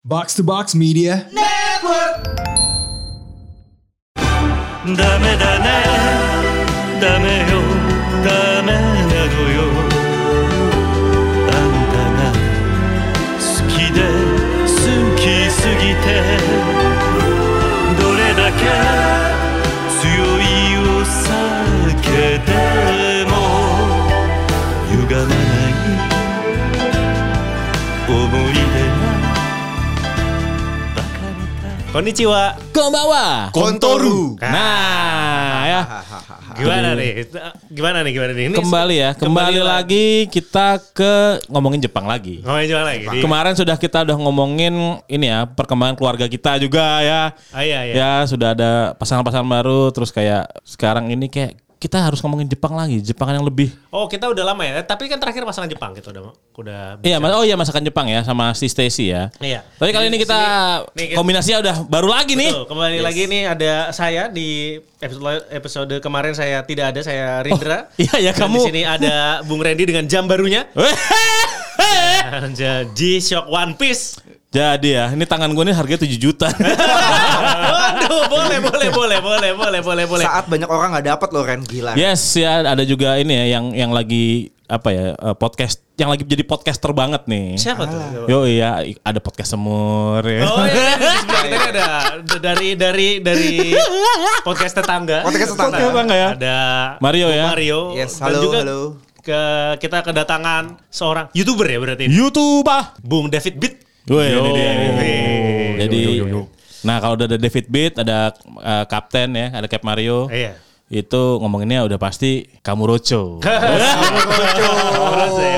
Box to Box Media. ダメだねダメよダメなのよあんたが好きで好きすぎてどれだけ強いお酒でも歪まない思い出がバカみたい Konnichiwa Konbawa Kontoru. Nah ya Gimana nih Gimana nih gimana nih Ini Kembali ya, kembali, lagi kita ke ngomongin Jepang lagi. Ngomongin Jepang Oh, lagi Di- Kemarin sudah kita udah ngomongin ini ya, perkembangan keluarga kita juga ya. Ah, iya, iya. Ya, sudah ada pasangan-pasangan baru terus kayak sekarang ini kayak kita harus ngomongin Jepang lagi, Jepang yang lebih. Oh kita udah lama ya Tapi kan terakhir masalah Jepang kita udah udah Iya, mas, oh iya masakan Jepang ya sama si Stacy ya. Iya. Tapi kali ini kita Sini, nih, kita- kombinasinya udah baru lagi nih. Betul, kembali lagi nih ada saya di episode episode kemarin saya tidak ada saya Rindra. Oh, iya, ya, Dan kamu. Di sini ada Bung Randy dengan jam barunya. Jadi Shock One Piece. Jadi ya, ini tangan gue ini harganya 7 juta. Waduh, boleh boleh boleh boleh boleh boleh boleh. Saat banyak orang nggak dapat loh Ren gila. Yes, ya ada juga ini ya yang yang lagi apa ya eh, podcast yang lagi jadi podcaster banget nih. Siapa tuh? Yo iya i- ada podcast semur. Ya. Oh iya, iya, di sebelah kita ini ada d- dari dari dari podcast tetangga. Podcast tetangga. Podcast tetangga ya. Ada Mario Bung ya. Mario. Yes, Dan halo, juga halo. Ke kita kedatangan seorang youtuber ya berarti. YouTuber. Bung David Beat. Woi, ah. ini Yo. dia. Wih. Jadi nah kalau udah ada David Beat, ada eh, Kapten ya, ada Cap Mario. Iya. Itu ngomonginnya udah pasti kamu roco. Kamurocho,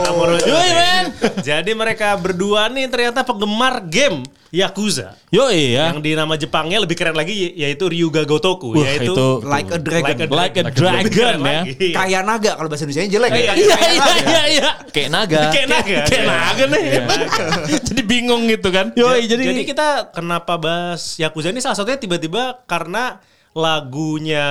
Kamurocho. Yoi, iya, men. Jadi mereka berdua nih ternyata penggemar game Yakuza. Yo iya. Yang di nama Jepangnya lebih keren lagi yaitu Ryuga Gotoku, Wah, yaitu itu Like a dragon. Like a Lebih keren dragon, ya. lagi. Kayak naga kalau bahasa Indonesia jelek ya. Iya iya iya iya. kayak naga. Kayak naga. Kayak naga nih. jadi bingung gitu kan. Yo Ja- iya, jadi, kita kenapa bahas Yakuza ini salah satunya tiba-tiba karena lagunya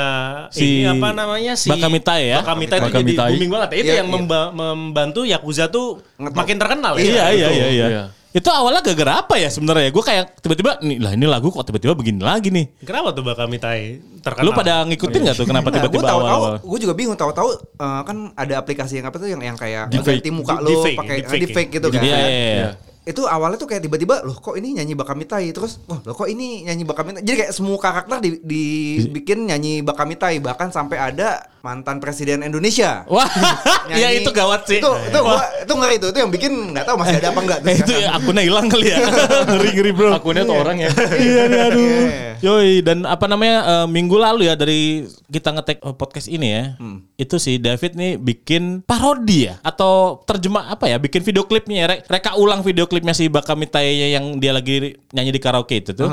Si ini apa namanya si Bakamitai ya? Bakamitai itu jadi Bakamitai. booming banget. Itu Iya, yang iya. memba- membantu Yakuza tuh Ngetop. makin terkenal ya. Iya iya iya iya. Iya. Itu awalnya gara-gara apa ya sebenarnya? Gue kayak tiba-tiba nih lah ini lagu kok tiba-tiba begini lagi nih. Kenapa tuh Bakamitai terkenal? Lu pada ngikutin Iya. nggak tuh kenapa Nah, gue tiba-tiba tahu-tahu, awal-awal? gue juga bingung tahu-tahu eh, kan ada aplikasi yang apa tuh yang yang kayak Deepfake. ganti muka Deep- lo deepfake, pakai deepfake di fake gitu kan. Iya iya iya. Itu awalnya tuh kayak tiba-tiba loh kok ini nyanyi Bakamitai terus wah loh kok ini nyanyi Bakamitai. Jadi kayak semua karakter di- dibikin nyanyi Bakamitai bahkan sampai ada mantan presiden Indonesia. Wah, Nyanyi- ya itu gawat sih. Itu itu gua itu ngeri itu. Itu yang bikin nggak tahu masih ada apa enggak Eh, itu ya, akunnya hilang kali ya. Ngeri-ngeri bro. Akunnya tuh orang ya. Iya, iya, aduh. Yoi, dan apa namanya eh, minggu lalu ya dari kita ngetek eh, podcast ini ya, Hmm. itu si David nih bikin parodi ya atau terjemah apa ya, bikin video klipnya, ya, re- reka ulang video klipnya si Bakamitai yang dia lagi nyanyi di karaoke itu tuh,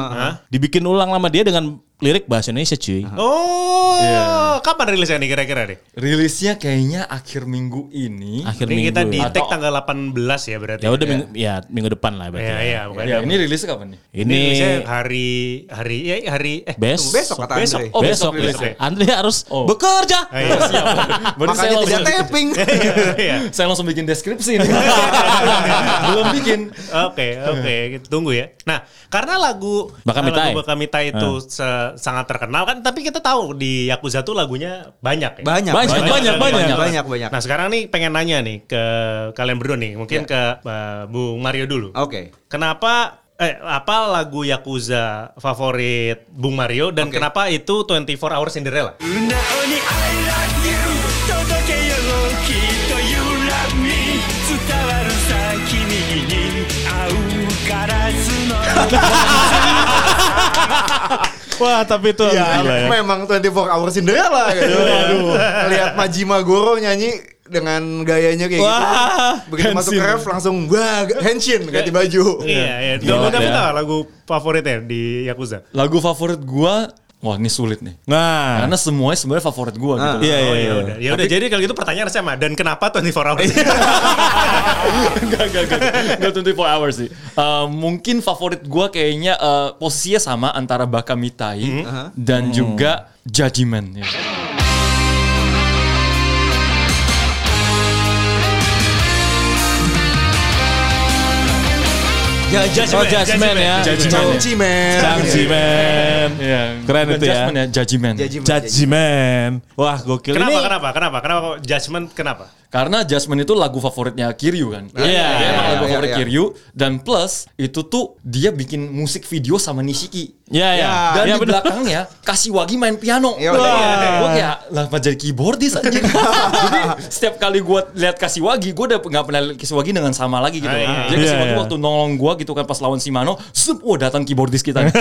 dibikin ulang sama dia dengan lirik bahasa Indonesia cuy. Oh, Iya. kapan rilisnya nih kira-kira nih? Rilisnya kayaknya akhir minggu ini. Akhir Ini minggu. kita di tag Atau- tanggal 18 ya berarti. ya udah minggu, ya minggu depan lah berarti. Iya, ya. iya, bukan. Ya, ini rilisnya kapan nih? Ini rilisnya hari hari ya hari eh besok. Besok kata Andre. besok. Oh, besok, rilis besok. ya? Andre harus Oh. bekerja. Ah, iya. Berarti Makanya saya tidak langsung, tapping. Iya. saya langsung bikin deskripsi nih. Belum bikin. Oke, oke, tunggu ya. Nah, karena lagu eh, Bakamitai. lagu Bakamitai itu se- sangat terkenal kan, tapi kita tahu di Yakuza tuh lagunya banyak ya. Banyak. Banyak, banyak, banyak. banyak, banyak. Nah, sekarang nih pengen nanya nih ke kalian berdua nih, mungkin ke uh, Bung Mario dulu. Oke. Kenapa eh apa lagu Yakuza favorit Bung Mario dan Oke. kenapa itu 24 Hour Cinderella? 素直に I love you 届けようきっと You love me 伝わるさ君に合うガラスの Wah, tapi itu gila ya. Ya, memang 24 hour Cinderella gitu. Aduh. Lihat Majima Goro nyanyi dengan gayanya kayak Wah, gitu. Begitu masuk Henshin. ref langsung wah henshin ganti baju. Iya, iya. Gawat Dulu ya. tahu lagu favoritnya di Yakuza. Lagu favorit gua, wah ini sulit nih. Nah, Karena semuanya sebenarnya favorit gua gitu. iya iya Oh iya. ya udah. Ya udah jadi kalau gitu pertanyaan sama dan kenapa 24 hours? Enggak, enggak, enggak. Enggak 24 hours sih. Eh, mungkin favorit gua kayaknya eh, posisinya sama antara Bakamitai dan juga Judgment. Ya. Ja- judgment, Oh, judgment ya. judgment. Judgment. Cangci men. Cangci man. Iya. Keren Bukan itu ya. judgment Judgment. Judgment, Cangci man. Wah gokil Kenapa, ini. kenapa, kenapa, kenapa, kok judgment kenapa? Karena Judgment itu lagu favoritnya Kiryu kan. Iya. Dia emang lagu Iya, favorit iya. Kiryu dan plus itu tuh dia bikin musik video sama Nishiki. Ya ya. Dan Ya, di bener. belakangnya Kashiwagi main piano. Ah, Iya, Wah. iya, iya. Gue kayak lah apa jadi keyboardis aja. Jadi setiap kali gue lihat Kashiwagi, gue udah nggak pernah lihat Kashiwagi dengan sama lagi gitu. Ah, iya. Iya, Jadi Kashiwagi iya. waktu nolong gue gitu kan pas lawan Shimano, sup, oh datang keyboardis kita. nih.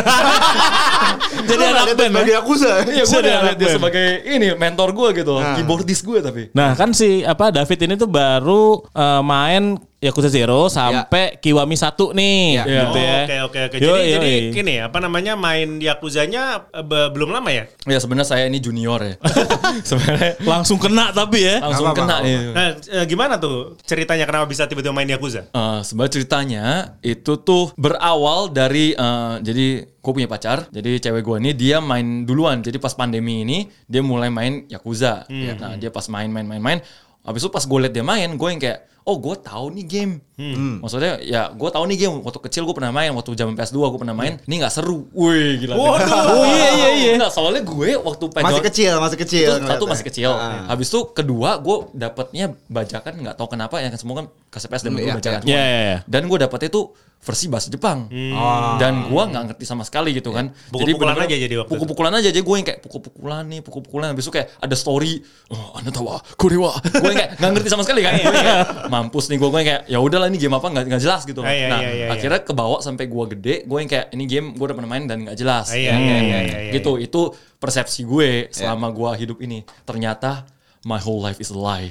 Jadi anak band. ya. Bagi aku Iya gue Jadi udah anak lihat dia band. sebagai ini mentor gue gitu, loh, Ah. keyboardis gue tapi. Nah kan si apa David ini tuh baru eh, main Yakuza Zero sampai Kiwami 1 nih. Iya. Gitu ya. Oh, Oke, Yoi, oke, oke. Jadi, jadi yoi. gini apa namanya main Yakuzanya eh, be- belum lama ya? Ya sebenarnya saya ini junior ya. sebenarnya Langsung kena tapi ya. langsung Nggak apa-apa, kena nggak nih. Nah, eh, gimana tuh ceritanya kenapa bisa tiba-tiba main Yakuza? Eh, sebenarnya ceritanya itu tuh berawal dari eh, jadi gue punya pacar jadi cewek gue ini dia main duluan jadi pas pandemi ini dia mulai main yakuza nah dia pas main main main main habis itu pas gue liat dia main gue yang kayak oh gue tahu nih game Hmm. maksudnya ya gue tahu nih game waktu kecil gue pernah main waktu zaman PS 2 gue pernah main ini nggak seru wih gila Waduh. oh iya iya iya Nggak, soalnya gue waktu Masih penjual- kecil, masih kecil. itu satu ngeliatnya. masih kecil. Ah. Habis itu kedua gue dapetnya bajakan nggak tahu kenapa yang semua kan KCPS dan Hmm, gue iya, bajakan. iya. Iya, iya, iya. Dan gue dapetnya itu versi bahasa Jepang. Dan gue nggak ngerti sama sekali gitu kan. Hmm. Iya. Pukul-pukulan bener-bener aja jadi waktu itu. Pukul-pukulan aja jadi gue yang kayak pukul-pukulan nih, pukul-pukulan. Habis itu kayak ada story, oh, anda tahu korewa. gue yang kayak nggak ngerti sama sekali kan. Iya, Gue yang kayak, mampus nih gue gue yang kayak ya udahlah ini game apa nggak nggak jelas gitu. Ah, iya, nah iya, iya, iya. akhirnya kebawa sampai gue gede, gue yang kayak ini game gue udah pernah main dan nggak jelas. Ah, iya, iya, Ya, Hmm. kayak iya, iya, iya. gitu itu persepsi gue selama gue hidup ini ternyata my whole life is a lie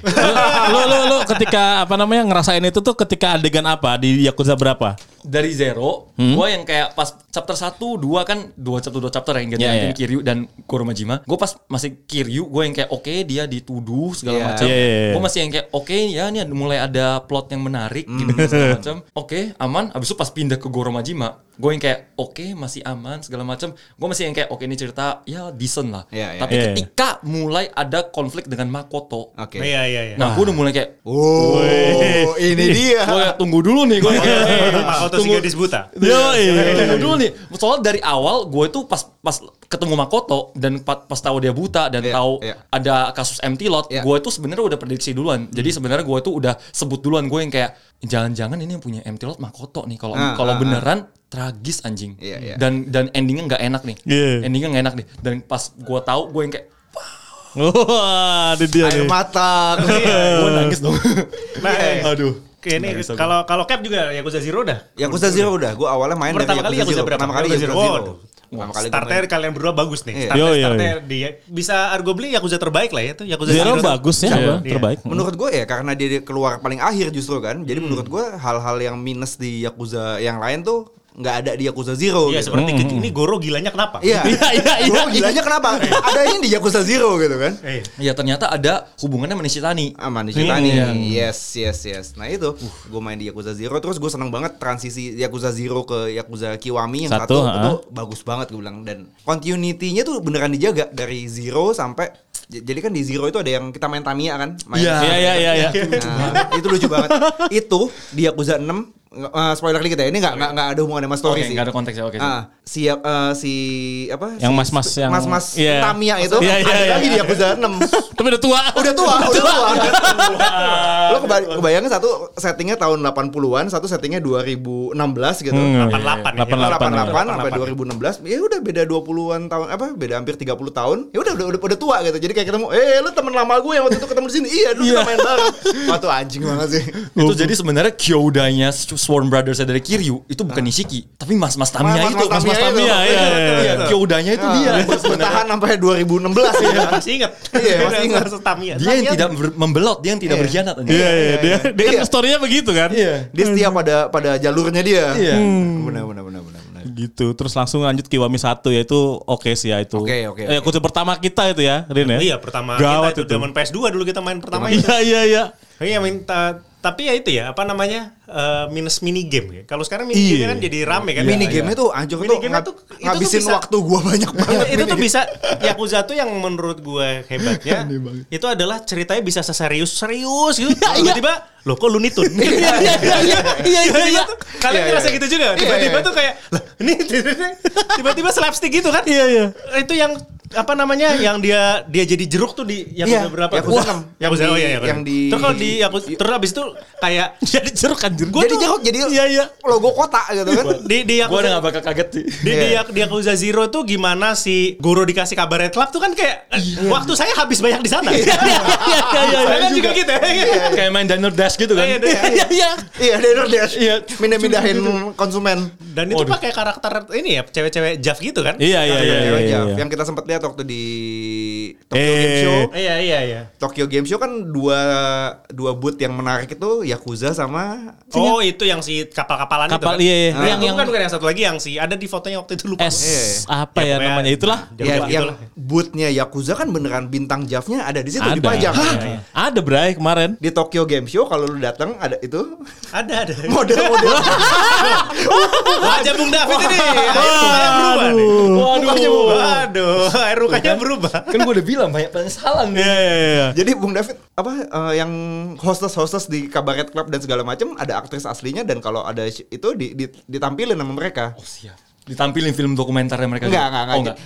lu, lu, lu ketika apa namanya ngerasain itu tuh ketika adegan apa di Yakuza berapa? dari zero gue yang kayak pas chapter 1, 2 kan dua chapter dua chapter yang ganti Iya, gantiin iya. Kiryu dan Kurumajima gue pas masih Kiryu gue yang kayak oke dia dituduh segala Iya. macam Iya, iya, iya. gue masih yang kayak oke ya ini ada- mulai ada plot yang menarik gitu segala macam oke aman abis itu pas pindah ke Goromajima gue yang kayak oke masih aman segala macam gue masih yang kayak oke ini cerita ya decent lah Iya, iya. tapi Iya, iya. ketika mulai ada konflik dengan Makoto Oke. Iya, iya, iya. Nah, gue udah mulai kayak, Oh, ini dia. gue tunggu dulu nih, gue Makoto si gadis buta. Yo, iya. tunggu dulu nih. Soalnya dari awal gue tuh pas pas ketemu Makoto dan pa- pas, tahu dia buta dan Iya, tahu iya. ada kasus MT lot, Iya. Hmm. gue tuh sebenarnya udah prediksi duluan. Jadi sebenarnya gue tuh udah sebut duluan gue yang kayak, jangan-jangan ini yang punya MT lot Makoto nih. Kalau Ah, kalau ah, beneran tragis anjing. Iya, iya. Dan dan endingnya nggak enak nih. Iya. Endingnya nggak enak nih. Dan pas gue tahu gue yang kayak, Wah, ini dia Air nih. mata. gue nangis dong. Nah, Iya. Aduh. Kayak ini kalau kalau Cap juga Yakuza Zero dah. Ya, Yakuza Zero udah, gue awalnya main Pertama dari kali Yakuza berapa? Pertama kali Yakuza Yakuza Zero. Zero. Waduh. Pertama kali gua Starter main. kalian berdua bagus Iya. nih. Starter, Yo, yo, starter di ya. bisa argo beli Yakuza terbaik lah ya tuh Yakuza Zero tuh. bagus ya, Iya. terbaik. Menurut gue ya karena dia keluar paling akhir justru kan. Jadi menurut gue hal-hal yang minus di Yakuza yang lain tuh nggak ada di Yakuza Zero. Iya, gitu. seperti ini Goro gilanya kenapa? Iya. Hmm. Iya, iya, iya. Gua gilanya kenapa? ada ini di Yakuza Zero gitu kan. Eh, Ya ternyata ada hubungannya sama Nishitani. Aman diceritani. ya. Iya. Yes, yes, yes. Nah Uh. itu, gue main di Yakuza Zero terus gue seneng banget transisi Yakuza Zero ke Yakuza Kiwami yang Satu, satu, ha. itu bagus banget gue bilang dan continuity-nya tuh beneran dijaga dari Zero sampai j- jadi kan di Zero itu ada yang kita main Tamiya kan? Main Iya. Iya, iya, iya, iya. Nah, itu lucu banget. itu di Yakuza 6 nge- eh, spoiler dikit ya. Ini nggak nggak nggak ada hubungannya sama story Oke, sih. nggak ada konteks ya, oke. Ah, si eh, si apa? Yang si mas-mas sp- yang- mas-mas Iya. Tamiya itu Iya, iya, ada iya. lagi di Yakuza 6 Tapi udah tua. udah tua, udah tua. Lo keba- kebayangin satu settingnya tahun 80-an, satu settingnya 2016 gitu. Hmm, 88 ya. 88. 88 sampai 2016 ya udah beda 20-an tahun apa beda hampir 30 tahun ya udah udah udah, udah tua gitu jadi kayak ketemu eh lu teman lama gue yang waktu itu ketemu di sini iya dulu kita main bareng waktu anjing banget sih Itu jadi sebenarnya Kyoudanya Sworn Brothers dari Kiryu itu bukan Ah. Nishiki, tapi mas-mas Tamiya Mas-mas itu. Tamiya Mas-mas itu. Tamiya, iya. Iya, iya. Kyoudanya itu dia. Nah, bertahan sampai 2016 ya masih ingat. Iya, masih ingat. Stamina. Dia yang tidak ber- membelot, dia yang tidak Iya. berkhianat. anjing. Iya, iya, dia dia Iya. kan story-nya begitu kan? Iya. dia setia pada pada jalurnya dia Iya. benar benar benar benar benar Gitu. Terus langsung lanjut Kiwami 1 ya itu oke sih ya itu. Oke, oke, Eh, oke. Yakuza pertama kita itu ya, Rin ya. Iya, pertama Gawat kita itu itu. zaman PS2 dulu kita main pertama itu. Iya, iya, iya. Iya, main ta- tapi ya itu ya apa namanya eh, minus mini game ya. Kalau sekarang mini Iya. game kan jadi rame kan. mini game tuh anjir tuh, Minigame-nya tuh- ngab- itu tuh ngabisin bisa- waktu gua banyak Itu, banget. itu tuh minigame. bisa Yakuza tuh yang menurut gue hebatnya itu adalah ceritanya bisa seserius serius gitu. Tiba-tiba loh kok Looney Tunes? Iya iya iya iya iya iya, iya. Tiba-tiba tuh, kalian Iya, ngerasa iya. gitu juga tiba-tiba tuh kayak lah ini tiba-tiba slapstick gitu kan Iya, iya. itu yang apa namanya yang dia dia jadi jeruk tuh di yang Iya, berapa Yakuza enam. Yakuza Yang oh di- iya Yakuza. yang di- terus kalau di Yakuza terus abis itu kayak Jadi jeruk anjir. Gua jadi tuh- jeruk jadi Iya iya. logo kota gitu kan. di di Gue udah Yakuza gak bakal kaget sih. di, di, Iya. Yak- di Yakuza Zero tuh gimana si guru dikasih kabar Red Club tuh kan kayak eh, waktu saya habis banyak di sana. Iya iya iya, Saya iya. kan juga gitu. ya. Kayak main Diner Dash gitu kan. Iya, iya. Iya iya. Iya, Dinner Dash. Iya. Mindah-mindahin konsumen. Dan itu pakai karakter ini ya cewek-cewek Jav gitu kan? Iya iya iya. Cewek iya, Jav, iya. Yang kita sempat lihat waktu di Tokyo Eh. Game Show. Iya iya iya. Tokyo Game Show kan dua dua booth yang menarik itu Yakuza sama Oh itu yang si kapal-kapalan Kapal, itu kan? iya, iya. Yang- Nah, itu yang- bukan, bukan yang satu lagi yang si ada di fotonya waktu itu lupa. S Eh. apa ya, Ya, pokoknya- namanya itulah. Ya, Ya, lupa, yang itulah. boothnya Yakuza kan beneran bintang Javnya ada di situ dipajang. Hah? Ada Bray kemarin. Di Tokyo Game Show kalau lu datang ada itu Ada ada. model-model Wajah Bung David ini. Mukanya berubah nih. Mukanya Waduh. berubah. Aduh, air mukanya berubah. Kan gue udah bilang banyak penyesalan nih. Iya iya iya. Jadi Bung David apa eh, yang hostess-hostess di Kabaret Club dan segala macam ada aktris aslinya dan kalau ada sh- itu di, di- ditampilin sama mereka. Oh, siap. Ditampilin film dokumenternya mereka. Enggak, gitu? enggak, Oh, enggak.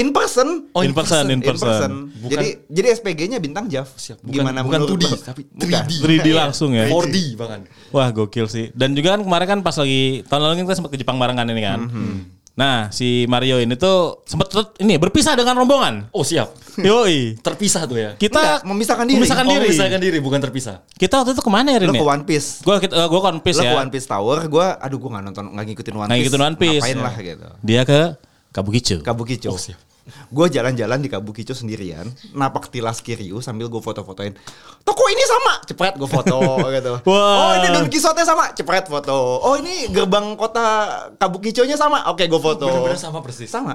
In person. Oh, in person, in person. Oh, Bukan- Jadi jadi SPG-nya bintang Jav. Siap. Bukan- Gimana bukan menurut 2D, Bang? tapi Bukan. 3D langsung ya. 4D bahkan. Wah gokil sih. Dan juga kan kemarin kan pas lagi tahun lalu kita sempat ke Jepang bareng kan ini kan. Mhm. Nah si Mario ini tuh sempat ini berpisah dengan rombongan. Oh siap. Yoi. Terpisah tuh ya. Kita Enggak, memisahkan diri. Memisahkan Oh, diri. memisahkan diri bukan terpisah. Kita waktu itu kemana ya Lo Rin? ke One Piece. Gue kita gue konpis Lo ya. ke One Piece Tower, gue aduh gue gak nonton, gak ngikutin Nggak One Piece. ngikutin One Piece, Ngapain ya. lah gitu. Dia ke Kabukicho. Kabukicho. Oh, siap. Gue jalan-jalan di Kabukicho sendirian, napak tilas kiriu sambil gue foto-fotoin. Toko ini sama, cepet gue foto gitu. Wah. Oh ini Don Quixote sama, cepet foto. Oh ini gerbang kota Kabukicho-nya sama, oke gue foto. Bener-bener sama persis. Uh. Sama.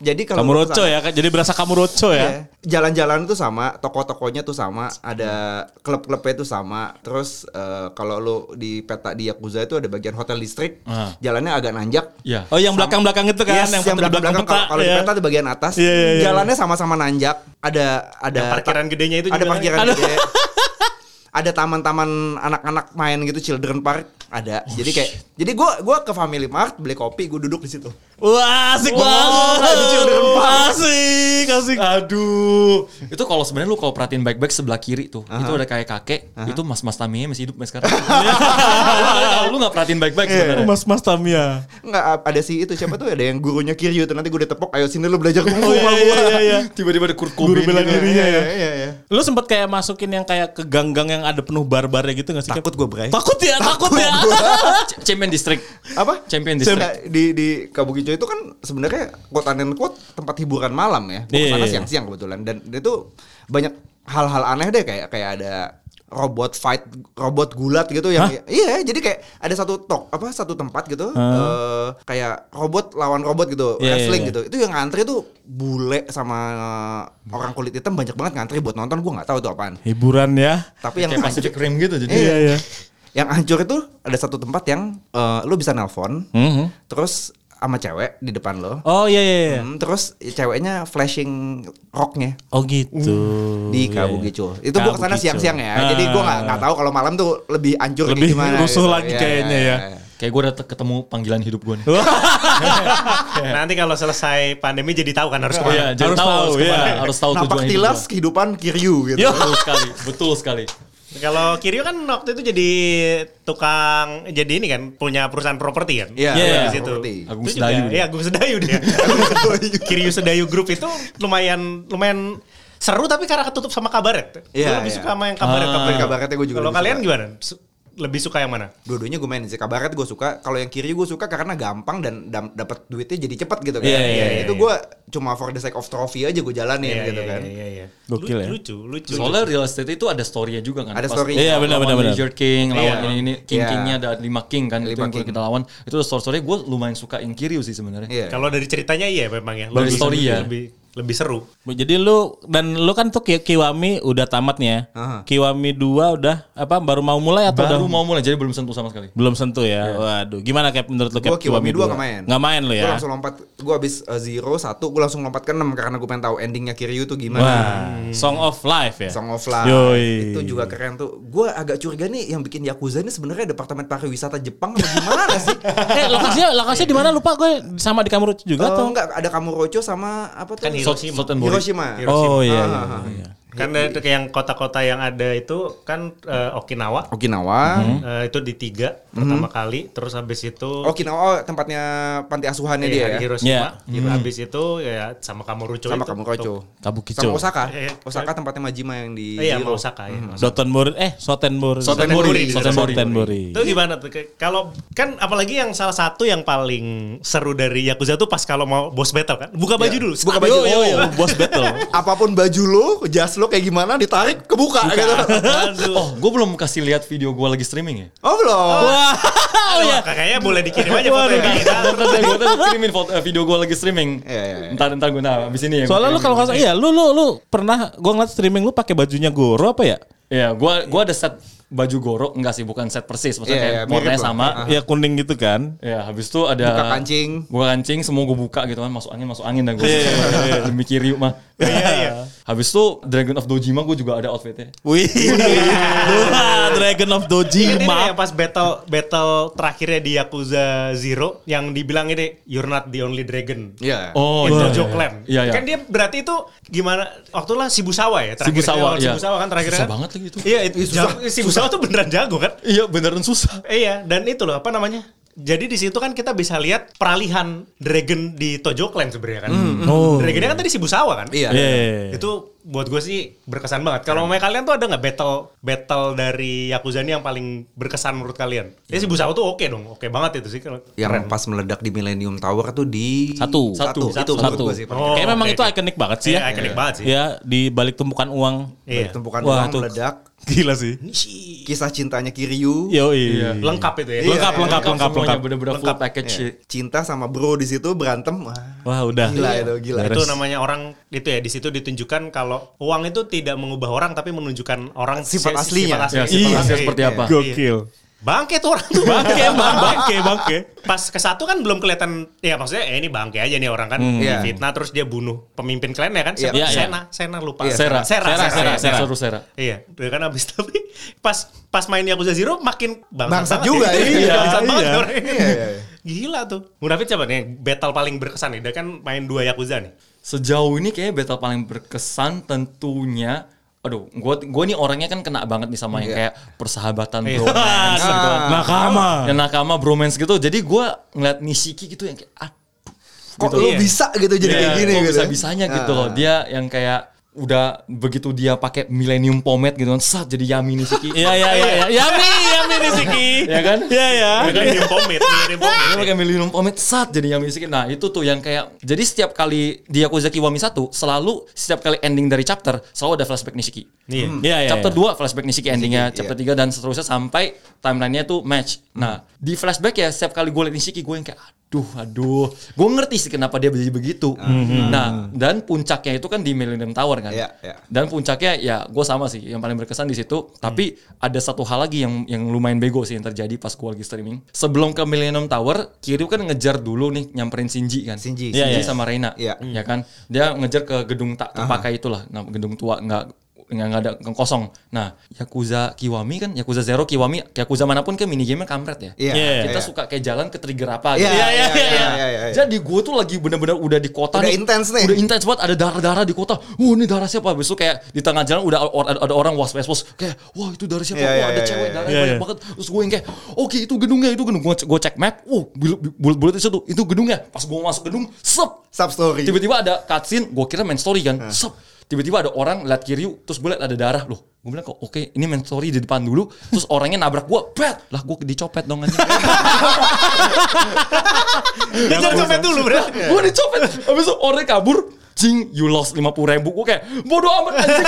Jadi kalau Kamu lu roco kesana- ya kan. Jadi berasa kamu roco Iya. ya. Jalan-jalan itu sama, toko-tokonya tuh sama, ada klub-klubnya itu sama. Terus eh, kalau lu di peta di Yakuza itu ada bagian hotel listrik, Ah. jalannya agak nanjak. Iya. Oh yang belakang-belakang itu kan. Yes, yang foto di belakang-belakang kalau kalau di ya. peta di bagian atas, Iya, iya, iya. jalannya sama-sama nanjak. Ada ada Yang parkiran gedenya itu ada juga. parkiran Aduh. gede. ada taman-taman anak-anak main gitu children park ada. jadi kayak jadi gua gua ke Family Mart beli kopi, gua duduk di situ. Wah asik banget. Asik asik. Aduh, itu kalau sebenarnya lu kalau perhatiin baik-baik sebelah kiri tuh, itu ada kayak kakek, itu mas-mas taminya masih hidup sampai sekarang. Iya. lu nggak perhatiin baik-baik Iya. sebenarnya. Mas Mas Tamia. Enggak ada si itu siapa tuh ada yang gurunya Kiryu tuh nanti gue ditepok ayo sini lu belajar kungfu Oh iya sama iya gua. iya. iya. Tiba-tiba ada Kurt Guru Cobain bela gitu. dirinya ya. Iya iya. Lu sempet kayak masukin yang kayak ke gang-gang yang ada penuh barbarnya gitu gak sih? Takut gue Bray. Takut ya, takut, ya. C- Champion District. Apa? Champion District. Nah, di di Kabukicho itu kan sebenarnya quote and quote tempat hiburan malam ya. Gue Iya, kesana iya, iya. siang-siang kebetulan dan itu banyak hal-hal aneh deh kayak kayak ada robot fight, robot gulat gitu yang iya jadi kayak ada satu tok apa satu tempat gitu eh, kayak robot lawan robot Iya, gitu iya, wrestling iya. gitu itu yang ngantri tuh bule sama orang kulit hitam banyak banget ngantri buat nonton gue nggak tahu itu apaan Hiburan ya. tapi yang Kayak Pacific Rim gitu jadi. Iya. Iya, iya. yang hancur itu ada satu tempat yang eh, lu bisa nelpon terus sama cewek di depan lo Oh iya iya iya. Hmm, terus ceweknya flashing rocknya Oh gitu. di Iya, iya. Kabukicho itu gua kesana Kabukicho. siang-siang ya Ah. jadi gua nggak nggak tahu kalau malam tuh lebih hancur Lebih kayak gimana rusuh lagi Iya, kayaknya iya, ya. iya. Kayak gue udah te- ketemu panggilan hidup gue nih. Nanti kalau selesai pandemi jadi tahu kan harus Oh iya, kemana. jadi Harus tahu, tahu, harus kemana, iya. harus tahu napak tujuan hidup tilas gua. kehidupan Kiryu gitu Betul sekali, betul sekali. Kalau Kiryu kan waktu itu jadi tukang jadi ini kan punya perusahaan properti kan. Iya, Iya, iya, di situ. properti. Agung Itu juga- Sedayu dia. Iya, Agung Sedayu dia. Iya. Kiryu Sedayu Group itu lumayan lumayan seru tapi karena ketutup sama kabaret. Iya, Gue lebih iya. suka sama yang kabaret. Ah. kabaret. Kabaretnya gua juga Kalau lebih kalian suka. gimana? Su- Lebih suka yang mana? dua-duanya gue main sih kabaret gue suka kalau yang kiri gue suka karena gampang dan dam- dapat duitnya jadi cepat gitu kan Iya, iya, iya, itu iya. gue cuma for the sake of trophy aja gue jalanin Iya, gitu iya, kan Iya, iya. Gokil ya. Lucu, lucu. Soalnya real estate itu ada story-nya juga kan. Ada Pas story-nya. Iya, benar, lawan benar, benar. Leisure King, lawan Iya. ini ini King Iya. Kingnya ada lima King kan itu Lima yang King. kita lawan. Itu ada story-story gue lumayan suka yang Kiryu sih sebenarnya. Iya. Kalau dari ceritanya iya memang ya. Dari Lebih- story ya. lebih- lebih seru. Jadi lu dan lu kan tuh Ki- Kiwami udah tamat nih ya. Aha. Kiwami 2 udah apa baru mau mulai atau Baru udah mau mulai jadi belum sentuh sama sekali. belum sentuh ya. Waduh, gimana Cap menurut lu Cap? Iya. Gua Kiwami 2 nggak main. Nggak main lu Gue ya. langsung lompat, gue abis eh, zero satu, gue langsung lompat ke enam karena gue pengen tahu endingnya Kiryu tuh gimana. Wah, Song of Life ya. Hmm. Song of Life Yoi. itu juga keren tuh. Gue agak curiga nih yang bikin Yakuza ini sebenarnya departemen pariwisata Jepang apa gimana sih? eh, lokasinya lokasinya di mana lupa gue sama di kamar juga Atau tuh. enggak ada Kamurocho sama apa tuh? Kan Hiroshima. Salt and Bori. Hiroshima. Oh iya iya. Ah, iya. Karena Kan itu kayak yang kota-kota yang ada itu kan eh, Okinawa Hmm. Okinawa. Mm-hmm. Eh, itu di tiga pertama kali terus habis itu Okinawa Hmm. oh, tempatnya panti asuhannya eh, dia ada ya. Hiroshima Iya. Hiro- habis itu ya sama Kamurocho itu. Sama Kamurocho. Kabukicho. Sama Osaka. Eh, Osaka tempatnya Majima yang di Eh, iya sama Hiro. Hmm. Osaka ya Dotonbori eh Sotenbori. Sotenbori. Sotenbori. Sotenbori. itu gimana tuh Kayak- kalau kan apalagi yang salah satu yang paling seru dari Yakuza tuh pas kalau mau boss battle kan buka baju dulu Iya. Buka baju. Yo, yo, yo, Boss battle. Apapun baju lo, jas lo kayak gimana ditarik kebuka gitu. Aduh. Oh, gue belum kasih lihat video gue lagi streaming ya. Oh belum. Wah, oh, iya. Aduh, iya. kayaknya boleh dikirim aja foto ya. Ntar deh, gua tuh kirimin foto, eh, video gue lagi streaming. Iya, iya, iya. Ntar ntar gue nah abis ini ya. gua Soalnya lu kirimin. kalau nggak salah, iya lu lu lu pernah gua ngeliat streaming lu pakai bajunya Goro apa ya? Iya, gue gue ada set baju gorok enggak sih, bukan set persis, maksudnya Iya, kayak iya, mirip warnanya lah. sama. Ya kuning gitu kan. Ya, habis itu ada Buka kancing. Gua kancing, semua gue buka gitu kan, masuk angin, masuk angin dan gue. Demi Kiryu mah. Habis itu Dragon of Dojima gue juga ada outfitnya. Wih, Wah, Dragon of Iya, Ini nih Dojima. yang pas battle battle terakhirnya di Yakuza Zero yang dibilang ini you're not the only dragon. Iya. Oh, Itu iya, Joe iya, Clan. Iya, iya. Kan dia berarti itu gimana waktu lah Shibusawa ya terakhir. Shibusawa, Lawan iya. Shibusawa kan terakhir Susah kan? banget lagi itu. Iya, itu jago. Shibusawa tuh beneran jago kan? Iya, beneran susah. Eh, Iya, dan itu loh apa namanya? Jadi di situ kan kita bisa lihat peralihan dragon di Tojo Clan sebenarnya kan. Hmm, Oh. Dragonnya kan tadi Shibusawa kan? Iya. Iya. Itu buat gue sih berkesan banget. Kalau sama kalian tuh ada nggak battle battle dari Yakuza ini yang paling berkesan menurut kalian? Ya si Busawa tuh oke dong, oke banget itu sih. Keren. Iya. Yang pas meledak di Millennium Tower tuh di Satu. Satu. Satu. Itu menurut Satu. gua sih. Oh, Kayak memang oke, itu oke. ikonik banget sih Iya, ya. ikonik banget sih. Ya, di balik tumpukan uang. Iya. Tumpukan Wah, uang tuh. meledak. Gila sih. Kisah cintanya Kiryu. Yo, Iya. Lengkap itu ya. Lengkap, lengkap, lengkap, Semuanya lengkap. bener-bener full Lengkap. Iya. package sih. Cinta sama bro di situ berantem. Wah. Wah, udah. Gila itu, gila. Beres. Itu namanya orang itu ya di situ ditunjukkan kalau uang itu tidak mengubah orang tapi menunjukkan orang si- Sifat aslinya. Sifat Ya, aslinya. sifat Iya. asli seperti apa? Gokil. Bangke tuh orang tuh. Iya. Bangke, bang, bangke, bangke. Pas ke satu kan belum kelihatan ya maksudnya eh, ini bangke aja nih orang kan Difitnah Iya. fitnah terus dia bunuh pemimpin klannya kan siapa? Iya, iya. Sena, Sena lupa. Iya. Sera, Sera, Sera, Sera, Sera. Sera. Seru Sera. Iya, dia kan abis tapi pas pas main Yakuza Zero makin Bangsat bangsat banget juga, ya. iya. Iya, bangsat banget Iya. ya orangnya. Iya, iya, iya. Gila tuh. Munafik siapa nih? yang Battle paling berkesan nih. Dia kan main dua Yakuza nih. Sejauh ini kayaknya battle paling berkesan tentunya Aduh, gua gua nih orangnya kan kena banget nih sama yang kayak persahabatan Iya. bromance gitu. Ah, kan. Nakama. Yang nakama bromance gitu. Jadi gua ngeliat Nishiki gitu yang kayak aduh, Kok Gitu. lo Iya. bisa gitu jadi kayak gini gitu. bisa bisanya gitu loh. Dia yang kayak udah begitu dia pakai Millennium Pomade gitu kan, sat jadi Yami Nishiki. Iya, iya, iya. iya. Yami, Yami Rizky. Iya kan? Iya, iya. Dia kan game pomade, dia game pomade. Dia pakai Millennium Pomade sat jadi Yami Nishiki. Nah, itu tuh yang kayak jadi setiap kali di Yakuza Kiwami 1 selalu setiap kali ending dari chapter selalu ada flashback Nishiki. Iya. Iya, iya. chapter 2 flashback Nishiki endingnya, iya. chapter 3 dan seterusnya sampai timelinenya tuh match. Nah, di flashback ya setiap kali gue liat Nishiki gue yang kayak aduh aduh. Gue ngerti sih kenapa dia jadi begitu. Nah, dan puncaknya itu kan di Millennium Tower kan. Hmm. Iya, iya. Dan puncaknya ya gue sama sih yang paling berkesan di situ. Tapi Hmm. ada satu hal lagi yang yang lumayan bego sih yang terjadi pas gue lagi streaming. Sebelum ke Millennium Tower, Kiryu kan ngejar dulu nih nyamperin Shinji kan. Shinji. Iya, Shinji iya. sama Reina, Iya. ya kan? Dia ngejar ke gedung tak terpakai itulah, nah, gedung tua nggak nggak nggak ada nggak kosong. Nah, Yakuza Kiwami kan, Yakuza Zero Kiwami, Yakuza manapun kan mini game kampret ya. Iya. Iya. Kita suka kayak jalan ke trigger apa Iya, gitu. iya, iya, iya, iya, iya, iya. Jadi gue tuh lagi bener-bener udah di kota Udah intens nih. Udah intens banget ada darah-darah di kota. Wah, ini darah siapa? Besok kayak di tengah jalan udah or- ada, ada orang was was was kayak wah itu darah siapa? Iya, iya, wah, ada iya, cewek iya. darah Iya, banyak iya. banget. Terus gue yang kayak oke itu gedungnya itu gedung gue gue cek map. Uh, bulat-bulat itu tuh, itu gedungnya. Pas gue masuk gedung, sep Sub story. Tiba-tiba ada cutscene, gue kira main story kan. Sep. Tiba-tiba ada orang liat Kiryu, terus gue liat ada darah. Loh, gue bilang kok oke ini main story di depan dulu. Terus orangnya nabrak gue, bet. Lah gue dicopet dong anjing. Dia jangan sampai dulu, bro. gue dicopet. Habis itu orangnya kabur. Jing, you lost 50 ribu. Gue kayak, bodoh amat anjing.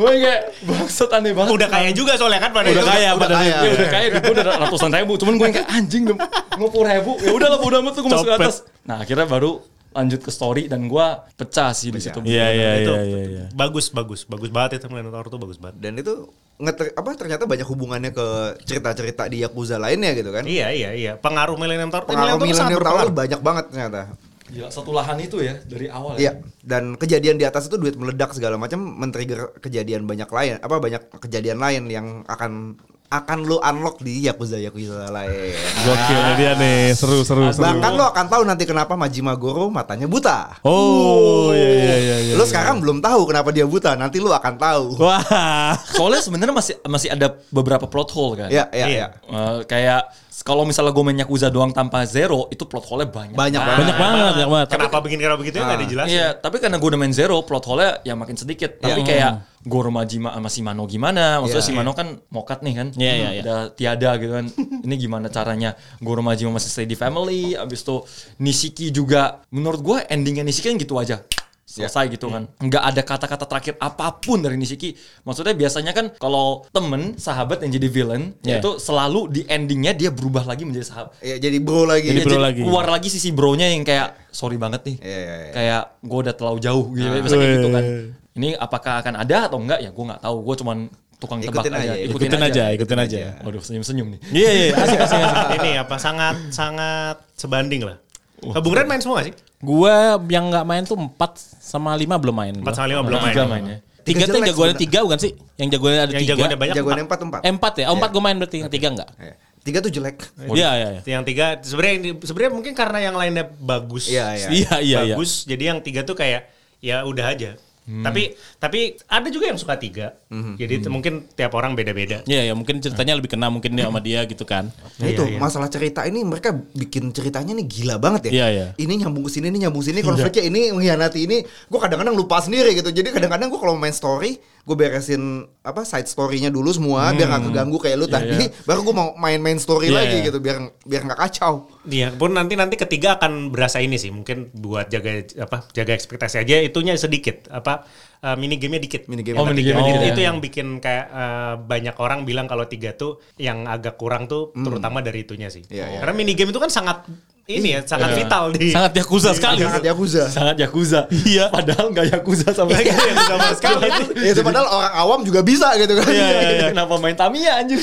gue kayak, bangsat aneh banget. Udah kaya juga soalnya kan pada Udah itu. kaya pada kaya. Ya udah kayak gue udah ratusan ribu, cuman gue yang kayak anjing dong, mau puluh ribu, ya udahlah bodo amat tuh gue masuk ke Copet. atas. Nah akhirnya baru lanjut ke story dan gua pecah sih di situ. Iya iya itu iya iya, iya. bagus bagus bagus banget itu Millennium Tower tuh bagus banget. Dan itu ngeter, apa ternyata banyak hubungannya ke cerita-cerita di Yakuza lainnya gitu kan. Iya iya iya pengaruh Millennium Tower Pengaruh Millennium Tower berpengaruh. banyak banget ternyata. Gila, satu lahan itu ya dari awal ya. Iya, dan kejadian di atas itu duit meledak segala macam men-trigger kejadian banyak lain, apa banyak kejadian lain yang akan akan lu unlock di Yakuza Yakuza lain. Gokil nih dia nih, seru seru Nah, seru. Bahkan lu akan tahu nanti kenapa Majima Goro matanya buta. Oh iya iya iya. iya. Oh, Lu sekarang belum tahu kenapa dia buta, nanti lu akan tahu. Wah. Soalnya sebenarnya masih masih ada beberapa plot hole kan. Iya, iya, Iya. iya. Eh, kayak kalau misalnya gue main Yakuza doang tanpa Zero itu plot hole-nya banyak. Banyak banget. Banyak banget, banyak banget. Kenapa begini kenapa begitu ya nggak dijelasin. Iya, tapi karena gue udah main Zero plot hole-nya ya makin sedikit. Tapi Iya. kayak Hmm. Goro Majima sama Shimano gimana? Maksudnya Iya. Shimano kan mokat nih kan. Iya, iya, iya. Udah tiada gitu kan. Ini gimana caranya Goro Majima masih stay di family, abis itu Nishiki juga menurut gue endingnya Nishiki kan gitu aja. Iya. Selesai gitu kan. Nggak ada kata-kata terakhir apapun dari Nishiki. Maksudnya biasanya kan kalau temen, sahabat yang jadi villain, Iya. itu selalu di endingnya dia berubah lagi menjadi sahabat. Iya, jadi bro lagi. Jadi Iya, bro lagi. keluar lagi sisi bronya yang kayak sorry banget nih Iya, iya, iya. kayak gue udah terlalu jauh gitu misalnya kayak gitu Ah. kan Weh. ini apakah akan ada atau enggak ya gue nggak tahu gue cuman tukang tebak Ikutin aja, ya. aja, Ikutin aja, ikutin aja. waduh senyum senyum nih Iya iya, asik asik. asik. ini apa sangat sangat sebanding lah. Nah, Bung Ren main semua nggak sih? Gua yang nggak main tuh 4 sama 5 belum main. Empat sama lima belum tiga main. mainnya Tiga tuh yang jelek jagoannya sebenarnya. tiga bukan sih? Yang jagoannya ada Yang tiga. jagoannya banyak. Jagoan empat. empat empat. Eh, empat ya? Oh, empat Iya. gue main berarti yang tiga enggak? Iya. Tiga tuh jelek. Iya iya iya. Yang tiga sebenarnya yang di- sebenarnya mungkin karena yang lainnya bagus. Iya, iya. Iya iya iya. bagus. Jadi yang tiga tuh kayak ya udah aja. Tapi tapi ada juga yang suka tiga. Hmm, Jadi t- mungkin tiap orang beda-beda. Iya ya mungkin ceritanya lebih kena mungkin dia sama dia gitu kan. Nah, itu masalah cerita ini mereka bikin ceritanya nih gila banget ya. Iya, iya. Ini nyambung ke sini, ini nyambung ke sini, konfliknya ini mengkhianati ini. Gue kadang-kadang lupa sendiri gitu. Jadi kadang-kadang gue kalau main story, gue beresin apa side story-nya dulu semua biar gak keganggu kayak lu tadi. Baru gue mau main-main story Iya, lagi iya. gitu biar biar nggak kacau. Iya, pun nanti nanti ketiga akan berasa ini sih. Mungkin buat jaga apa jaga ekspektasi aja itunya sedikit apa eh, mini gamenya dikit. Mini game. Yang Oh, mini ketiga. game-nya Jadi dikit. itu yang bikin kayak eh, banyak orang bilang kalau tiga tuh yang agak kurang tuh terutama dari itunya sih. Hmm. Iya, iya, Karena mini game itu kan sangat ini ya sangat vital di Sangat yakuza sekali. Sangat Yakuza. Iya. sangat yakuza iya padahal nggak yakuza sama Iya, sekali iya, sama sekali. Ya, itu padahal orang awam juga bisa gitu kan. Iya, iya, iya. kenapa main Tamiya anjir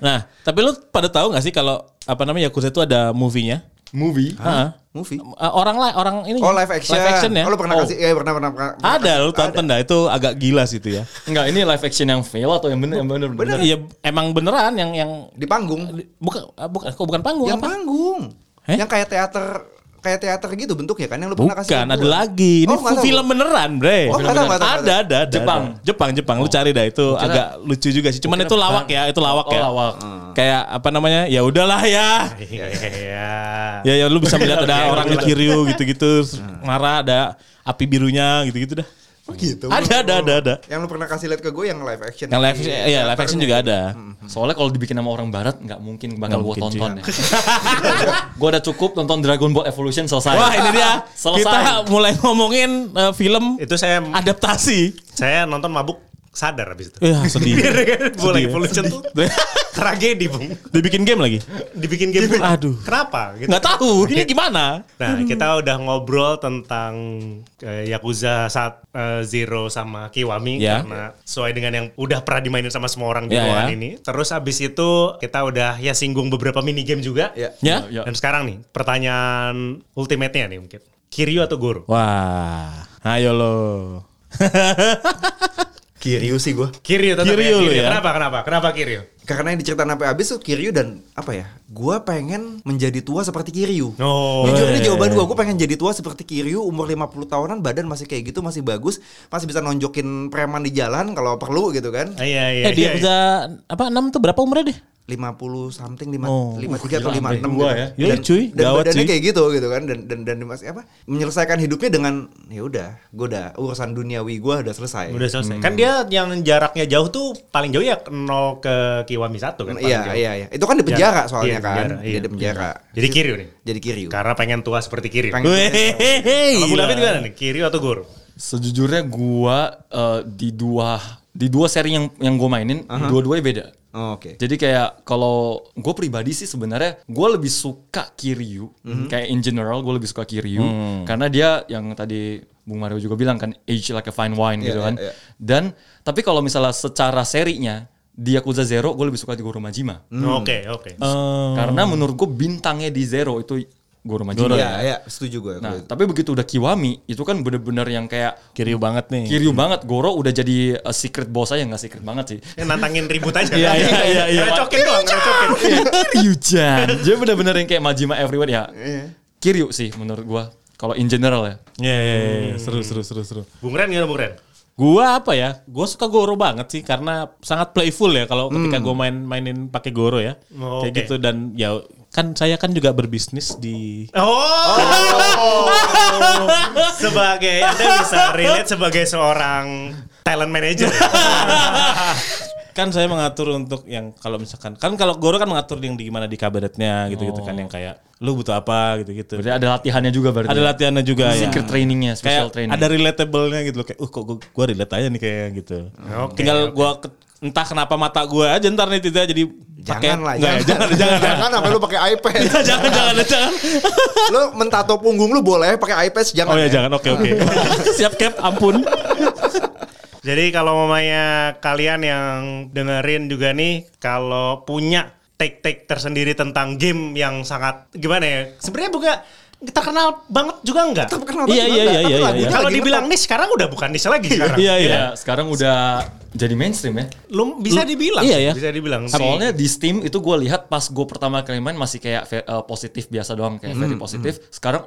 Nah, tapi lu pada tahu nggak sih kalau apa namanya Yakuza itu ada movie-nya? movie Heeh. Movie. Eh, orang lah orang ini Oh live action. live action ya Oh, lu pernah Oh. kasih? Iya pernah pernah. pernah ada lu tonton dah itu agak gila sih itu ya Enggak, ini live action yang fail atau yang bener? Yang bener, bener. iya emang beneran yang yang Di panggung. bukan ah, bukan kok bukan panggung Yang apa panggung. Heh? Yang kayak teater kayak teater gitu bentuknya kan yang lu pernah kasih. bukan ke ada gua. lagi ini Oh, nggak tahu. film beneran bre Oh, nggak tahu, nggak tahu, nggak ada tahu. ada ada Jepang. Oh. ada. Jepang Jepang lu cari dah itu kira- agak lucu juga sih cuman kira itu lawak bukan. ya itu lawak Oh, ya lawak. kayak apa namanya ya udahlah ya Iya. ya ya lu bisa Iya, melihat ada Oke, orang di oke. kiri gitu-gitu marah ada api birunya gitu-gitu dah Oh gitu. ada ada ada ada Yang lu pernah kasih lihat ke gue yang live action. yang live Di ya live teater action tuh. juga ada Hmm. Soalnya kalau dibikin sama orang barat nggak mungkin Nggak bakal gue mungkin, tonton ya. gue udah cukup tonton Dragon Ball Evolution selesai. Wah ini dia Selesai. kita mulai ngomongin eh, film Itu saya adaptasi. saya nonton mabuk sadar habis itu. Iya, Ya sedih. Boleh Sedih ya. evolution tuh tragedi, Bung. Dibikin game lagi? Dibikin game. pula. Aduh. Kenapa gitu? Nggak tahu. Hmm. Ini gimana? Nah, kita udah ngobrol tentang eh, Yakuza saat eh, Zero sama Kiwami Ya. karena sesuai dengan yang udah pernah dimainin sama semua orang di Ya, ruangan ya. ini. Terus abis itu kita udah ya singgung beberapa mini game juga. Iya. Ya? Ya. Dan sekarang nih pertanyaan ultimate-nya nih mungkin. Kiryu atau Goro? Wah. Ayo lo. Kiryu sih gue. Kiryu tetap Kiryu lu ya? Kenapa kenapa? Kenapa Kiryu? Karena yang diceritain sampai habis tuh Kiryu dan apa ya? Gue pengen menjadi tua seperti Kiryu. Oh. Jujur ini Eh. jawaban gue, gue pengen jadi tua seperti Kiryu umur 50 tahunan badan masih kayak gitu masih bagus masih bisa nonjokin preman di jalan kalau perlu gitu kan Iya iya. eh dia iya. bisa apa 6 tuh berapa umurnya deh? 50 something Oh. 5 tiga atau gila, 56 sampai tua ya. Iya, cuy. dan Gawat, badannya cuy. kayak gitu gitu kan dan dan dan masih apa menyelesaikan hidupnya dengan ya udah gue udah urusan duniawi gue udah selesai Hmm. Udah selesai. Kan dia yang jaraknya jauh tuh paling jauh ya 0 ke Kiwami 1 kan paling iya jauh. iya iya itu kan di penjara Iya, soalnya di kan penjara, iya. jadi di penjara Jadi Kiryu nih. jadi Kiryu Karena pengen tua seperti Kiryu. Pengen- Wehehehe. Kalau Bu David gila. gimana nih? Kiryu atau Goro? Sejujurnya gua eh, di dua di dua seri yang yang gue mainin dua-duanya beda. Oh, Oke. Jadi kayak kalau gue pribadi sih sebenarnya gue lebih suka Kiryu, kayak in general gue lebih suka Kiryu karena dia yang tadi Bung Mario juga bilang kan age like a fine wine gitu Iya, kan. iya, iya. Dan tapi kalau misalnya secara serinya di Yakuza Zero gue lebih suka di Goro Majima. Hmm. Oke, oke. Eh. Karena menurut gue bintangnya di Zero itu Goro Majima. Iya, iya, setuju gue. Nah, tapi begitu udah Kiwami itu kan bener-bener yang kayak Kiriu banget nih. Kiryu banget, Goro udah jadi uh, secret boss aja nggak secret banget sih. Ya, nantangin ribut aja. Iya, iya, iya, iya. Recokin doang, recokin. Kiryujan. Dia bener-bener yang kayak Majima everywhere ya. Kiryu sih menurut gua. Kalau in general ya. Iya, iya, iya, iya. Hmm. seru, seru, seru, seru. Bung Ren gimana Bung Ren? Gua apa ya? Gua suka Goro banget sih karena sangat playful ya kalau ketika gua main-mainin pakai Goro ya. Hmm. Oh, Kayak oke. gitu dan ya kan saya kan juga berbisnis di Oh, sebagai Anda bisa relate sebagai seorang talent manager. kan saya mengatur untuk yang kalau misalkan kan kalau Goro kan mengatur yang di gimana di kabinetnya gitu-gitu Oh. kan yang kayak lu butuh apa gitu-gitu. Berarti ada latihannya juga berarti. Ada latihannya juga ya. secret trainingnya, special kayak training. ada relatable-nya gitu loh kayak uh kok gua, gua relate aja nih kayak gitu. Oke, Tinggal gua ke- entah kenapa mata gua aja ntar nih tidak jadi pakai Jangan lah, Nggak ya, jangan jangan jangan jangan sampai lu pakai iPad. jangan jangan, jangan. lu mentato punggung lu boleh pakai iPad jangan. Oh ya jangan oke oke. Siap cap ampun. Jadi kalau mamanya kalian yang dengerin juga nih kalau punya take-take tersendiri tentang game yang sangat gimana ya? Sebenarnya bukan terkenal banget juga enggak? Tapi kenapa Iya, iya, gimana? iya, Tapi iya, lagunya iya. Kalau Ya, lagi dibilang niche sekarang udah bukan niche lagi sekarang. Iya Iya, iya. sekarang udah jadi mainstream ya. Lu bisa dibilang. Iya, iya. Bisa dibilang. sih. Soalnya di Steam itu gua lihat pas gue pertama kali main masih kayak ve- uh, positif biasa doang kayak very positif. Sekarang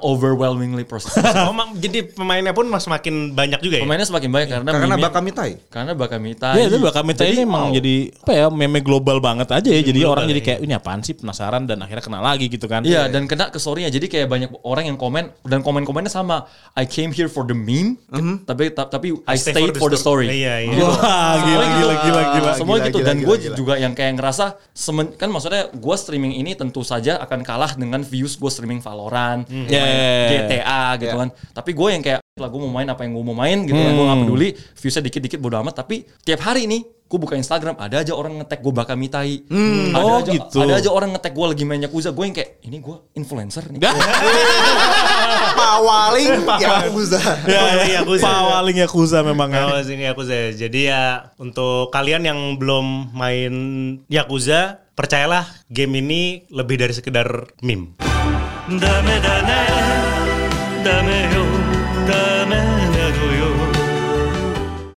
overwhelmingly positif. Oh, ma- jadi pemainnya pun mas makin banyak juga ya. Pemainnya semakin banyak karena tetap- karena meme- bakal mitai. karena bakamita. Iya itu bakal meta ini emang jadi apa ya meme global banget aja ya. Jadi orang jadi kayak ini apaan sih penasaran dan akhirnya kena lagi gitu kan. Iya dan kena ke story-nya. Jadi kayak banyak orang yang komen dan komen-komennya sama I came here for the meme tapi ta- tapi Mhm. I, stay stayed for the story. Iya, iya. Wah gila gila gila gila. Semua gila, gitu gila, dan gila, gue gila. juga yang kayak ngerasa semen, kan maksudnya gue streaming ini tentu saja akan kalah dengan views gue streaming Valorant, Ya, ya, ya. GTA gitu kan. Tapi gue yang kayak lah gue mau main apa yang gue mau main gitu kan. Gue Hmm. gak peduli viewsnya dikit-dikit bodo amat. Tapi tiap hari nih gue buka Instagram ada aja orang ngetek gue bakal mitai. Ada, Oh, aja, gitu. ada aja orang ngetek gue lagi main Yakuza. Gue yang kayak ini gue influencer nih. Pawaling ya, Yakuza. Iya, iya, aku sih. Pawaling Yakuza memang ya. Awas ini Yakuza. Jadi ya untuk kalian yang belum main Yakuza, percayalah game ini lebih dari sekedar meme. ダメだねダメよダメよ